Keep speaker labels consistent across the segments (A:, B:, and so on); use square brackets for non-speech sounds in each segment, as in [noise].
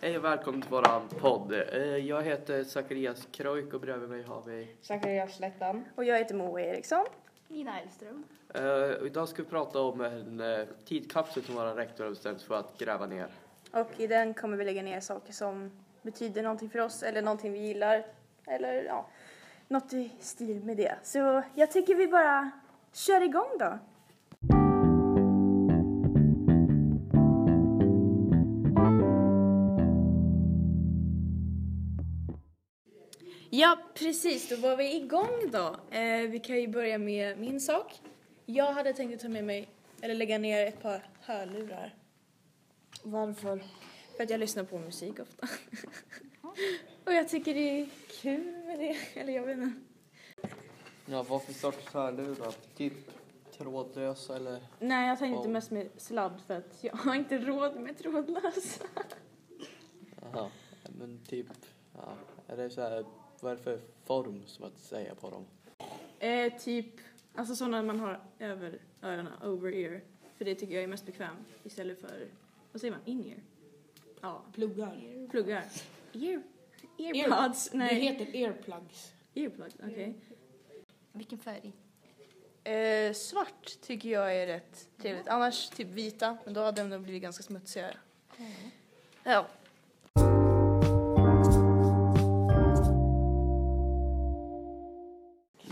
A: Hej och välkommen till våran podd. Eh, Jag heter Zacharias Kroik och bredvid mig har vi...
B: Zacharias Slättan.
C: Och jag heter Moa Eriksson.
D: Nina Elström.
A: Eh, och Idag ska vi prata om en eh, tidkapsel som våran rektor har bestämt för att gräva ner.
C: Och i den kommer vi lägga ner saker som betyder någonting för oss eller någonting vi gillar. Eller ja, något i stil med det. Så jag tycker vi bara kör igång då.
E: Ja, precis. Då var vi igång då. Eh, vi kan ju börja med min sak. Jag hade tänkt att ta med mig, eller lägga ner ett par hörlurar.
B: Varför?
E: För att jag lyssnar på musik ofta. [laughs] Och jag tycker det är kul med det. Eller jag vet inte.
A: Ja, vad för sorts hörlurar? Typ trådlös eller?
E: Nej, jag tänkte
A: Wow.
E: mest med sladd för att jag har inte råd med trådlösa.
A: Aha. men typ... Ja. Är det så här, vad är det för form som att säga på dem?
E: Eh, typ, alltså sådana man har över öronen, over ear. För det tycker jag är mest bekvämt istället för, vad säger man, in ear? Ja,
B: Pluggar.
E: pluggar.
D: Ear.
E: Earpods,
B: Det
E: nej.
B: heter earplugs.
E: Earplugs, okej.
D: Vilken färg?
F: Eh, svart tycker jag är rätt trevligt. Annars typ vita, men då hade de nog blivit ganska smutsigare. Ja.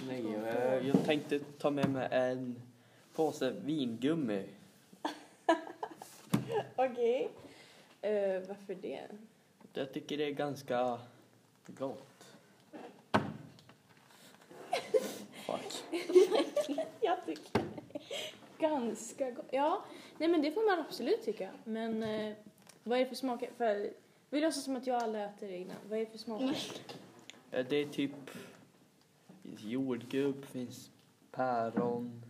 A: Nej, eh, jag tänkte ta med mig en påse vingummi.
E: Okej. Eh, varför det? [laughs]
A: Jag tycker det är ganska gott. Fuck.
E: Jag tycker ganska gott. Ja, nej men det får man absolut tycka. Men eh, vad är det för smaker? För vi låtsas som att jag aldrig äter det innan. Vad är det för smaker?
A: Eh, Det är typ finns jordgubb, finns päron.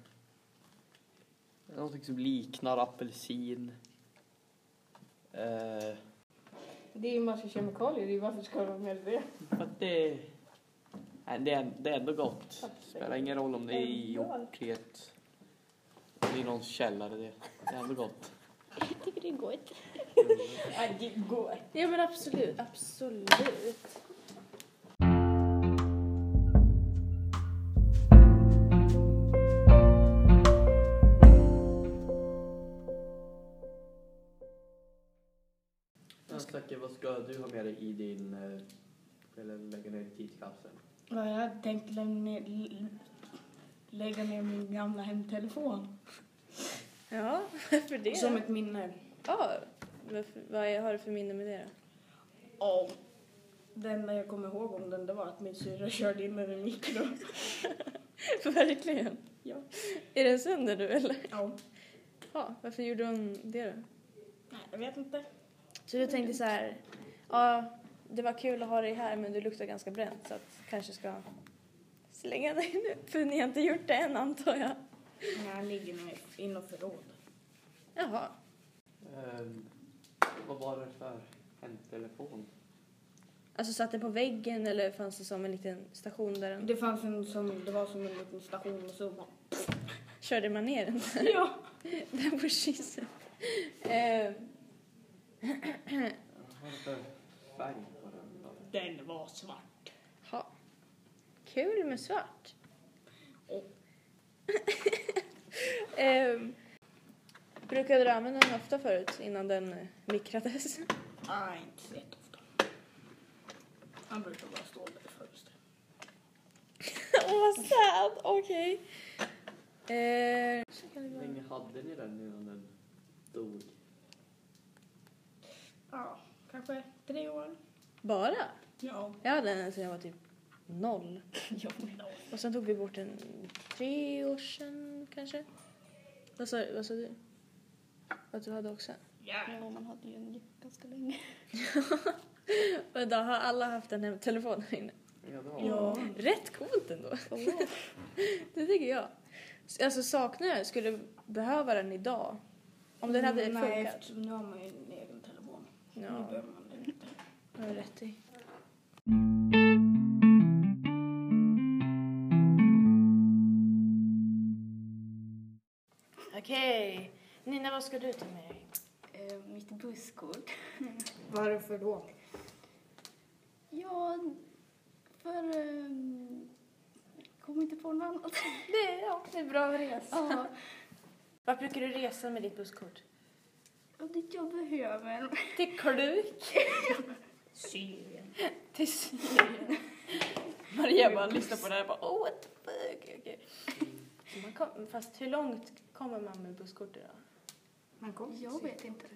A: Någonting som liknar apelsin. Eh,
B: Det är ju massa kemikalier i. Varför ska de med det?
A: för att det, nej, det, är, det är ändå gott. Spelar ingen roll om det är gjort i ett... om det är någons källare. Det, det är ändå gott.
D: Jag tycker det är gott.
B: Nej, det går.
E: Ja men absolut, absolut.
A: Zacke, vad ska du ha med dig i din... eh, Eller lägga ner i tidskapseln?
B: Ja, jag tänkte lämna ner, lägga ner min gamla hemtelefon.
E: Ja, [laughs] varför det?
B: Som ett minne.
E: Ja, varför, vad är, har du för minne med det då?
B: Och det enda jag kommer ihåg om den det var att min syrra körde in den i mikron.
E: [laughs] Verkligen.
B: Ja.
E: Är den sönder nu eller?
B: Ja.
E: Ja, varför gjorde hon det då?
B: Nej, jag vet inte.
E: Så du tänkte så här, ja det var kul att ha dig här men du luktar ganska bränt så att kanske ska slänga dig nu [laughs] för ni har inte gjort det än antar jag.
B: Nej, den ligger nog i något förråd.
E: Jaha.
A: Ehm, vad var det för hemtelefon?
E: Alltså satt den på väggen eller fanns det som en liten station där den
B: Det fanns en som, det var som en liten station och så [laughs] bara...
E: körde man ner den
B: Ja!
E: [laughs] där på kisset? Eh,
A: Vad var det för färg på den då?
B: Den var svart.
E: ha. Kul med svart.
B: Och
E: [laughs] Ehm, brukade du använda den ofta förut innan den eh, mikrades?
B: Nej, inte så jätteofta. Han brukar bara stå där i fönstret.
E: Åh vad sad, okej. Eh,
A: Hur länge hade ni den innan den dog?
B: Ja, kanske tre år.
E: bara?
B: Ja. [laughs]
E: Jag hade den sedan jag var typ noll.
B: ja.
E: Och sen tog vi bort den tre år sedan kanske. Vad sa, vad sa du? Att du hade också? [laughs]
B: ja.
D: Ja, man hade ju en ganska länge.
E: Och då har alla haft den här telefonen inne.
A: Ja, det var
B: ja.
E: Rätt coolt ändå. [laughs] det tycker jag. S- Alltså saknar jag, skulle behöva den idag. Om den hade
B: Mm, Nej,
E: funkat.
B: eftersom nu har man ju en egen telefon. Nu
E: Ja,
B: behöver man den inte.
E: det har du rätt i.
C: Okej, Nina vad ska du ta med dig?
D: Eh, eh, mitt busskort.
B: Varför då?
D: Ja, för... Eh, kom inte på något annat.
C: Det, ja, det är bra resa.
D: Ja,
E: Vart brukar du resa med ditt busskort?
D: och det jag behöver.
E: Till Kluk.
D: Syrien.
E: Till Syrien. Maria bara lyssnar på det här och bara oh what the fuck. Okay. Så man kom, fast hur långt kommer man med busskort idag?
B: Man kom.
D: Jag vet inte.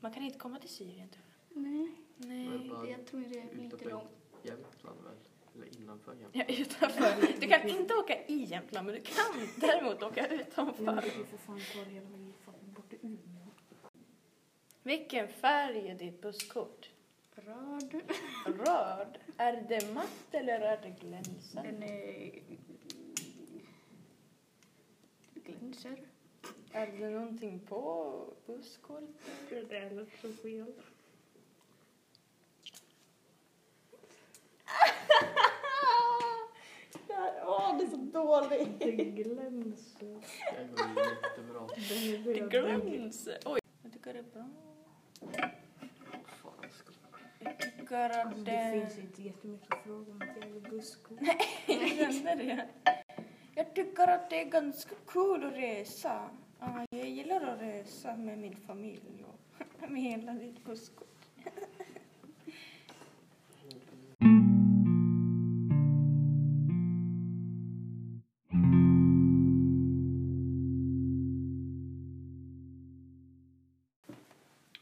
E: Man kan inte komma till Syrien tror
D: Nej,
E: jag. Nej.
D: det- jag tror det är inte långt.
A: Jämtland väl? Eller innanför Jämtland?
E: Ja, utanför. Du kan inte åka i Jämtland men du kan däremot åka utanför.
B: Du får fan ta det hela vägen fan bort till Umeå.
E: Vilken färg är ditt busskort?
D: Röd.
E: Röd. Är det matt eller är det glänsande?
D: Den är... mm, Glänser.
E: Är det någonting på busskort?
B: Det är något så fel.
E: [laughs] Åh, det är så dåligt.
B: Det glänser.
A: Det går jättebra.
E: Det glänser. Oj. Jag tycker det är bra.
A: Fan, ska-
E: Jag tycker att
B: Det
E: Alltså, det...
B: finns inte jättemycket frågor om ett jävla busskort.
E: Jag känner det. Jag tycker att det är ganska kul att resa. Ja, Jag gillar att resa med min familj och [laughs] med hela mitt busskort.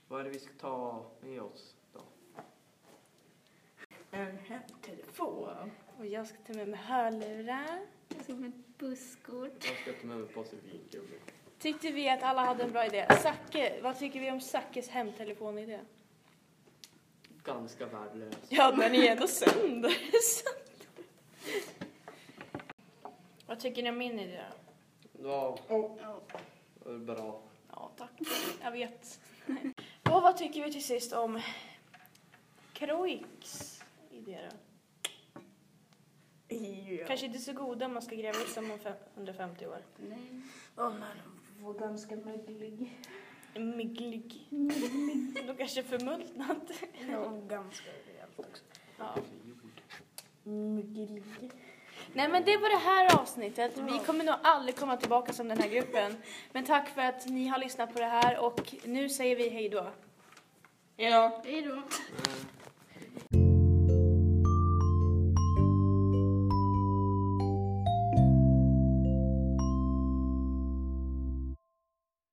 A: Vad är det vi ska ta med oss då?
E: En hemtelefon. Och jag ska ta med mig hörlurar.
D: Jag ska med ett busskort.
A: Jag ska ta med mig en påse vingummi.
E: Tyckte vi att alla hade en bra idé. Zacke, vad tycker vi om Zackes hemtelefonidé?
A: Ganska värdelös.
E: Ja, den är ändå sönder. vad tycker ni om min idé?
A: Ja,
D: Ja.
A: det var bra.
E: Ja, tack. Jag vet. [laughs] Och vad tycker vi till sist om Croix idé då? Kanske inte så goda om man ska gräva ut dem om fem- 150 år.
D: Nej.
B: Var ganska möglig.
E: [laughs] Mygglig. Då kanske förmultnat.
B: Ja, ganska rejält också.
E: Ja.
A: Jord.
B: Möglig.
E: Nej men det var det här avsnittet. Vi kommer nog aldrig komma tillbaka som den här gruppen. Men tack för att ni har lyssnat på det här och nu säger vi hej då.
D: Hej då.
A: Eh,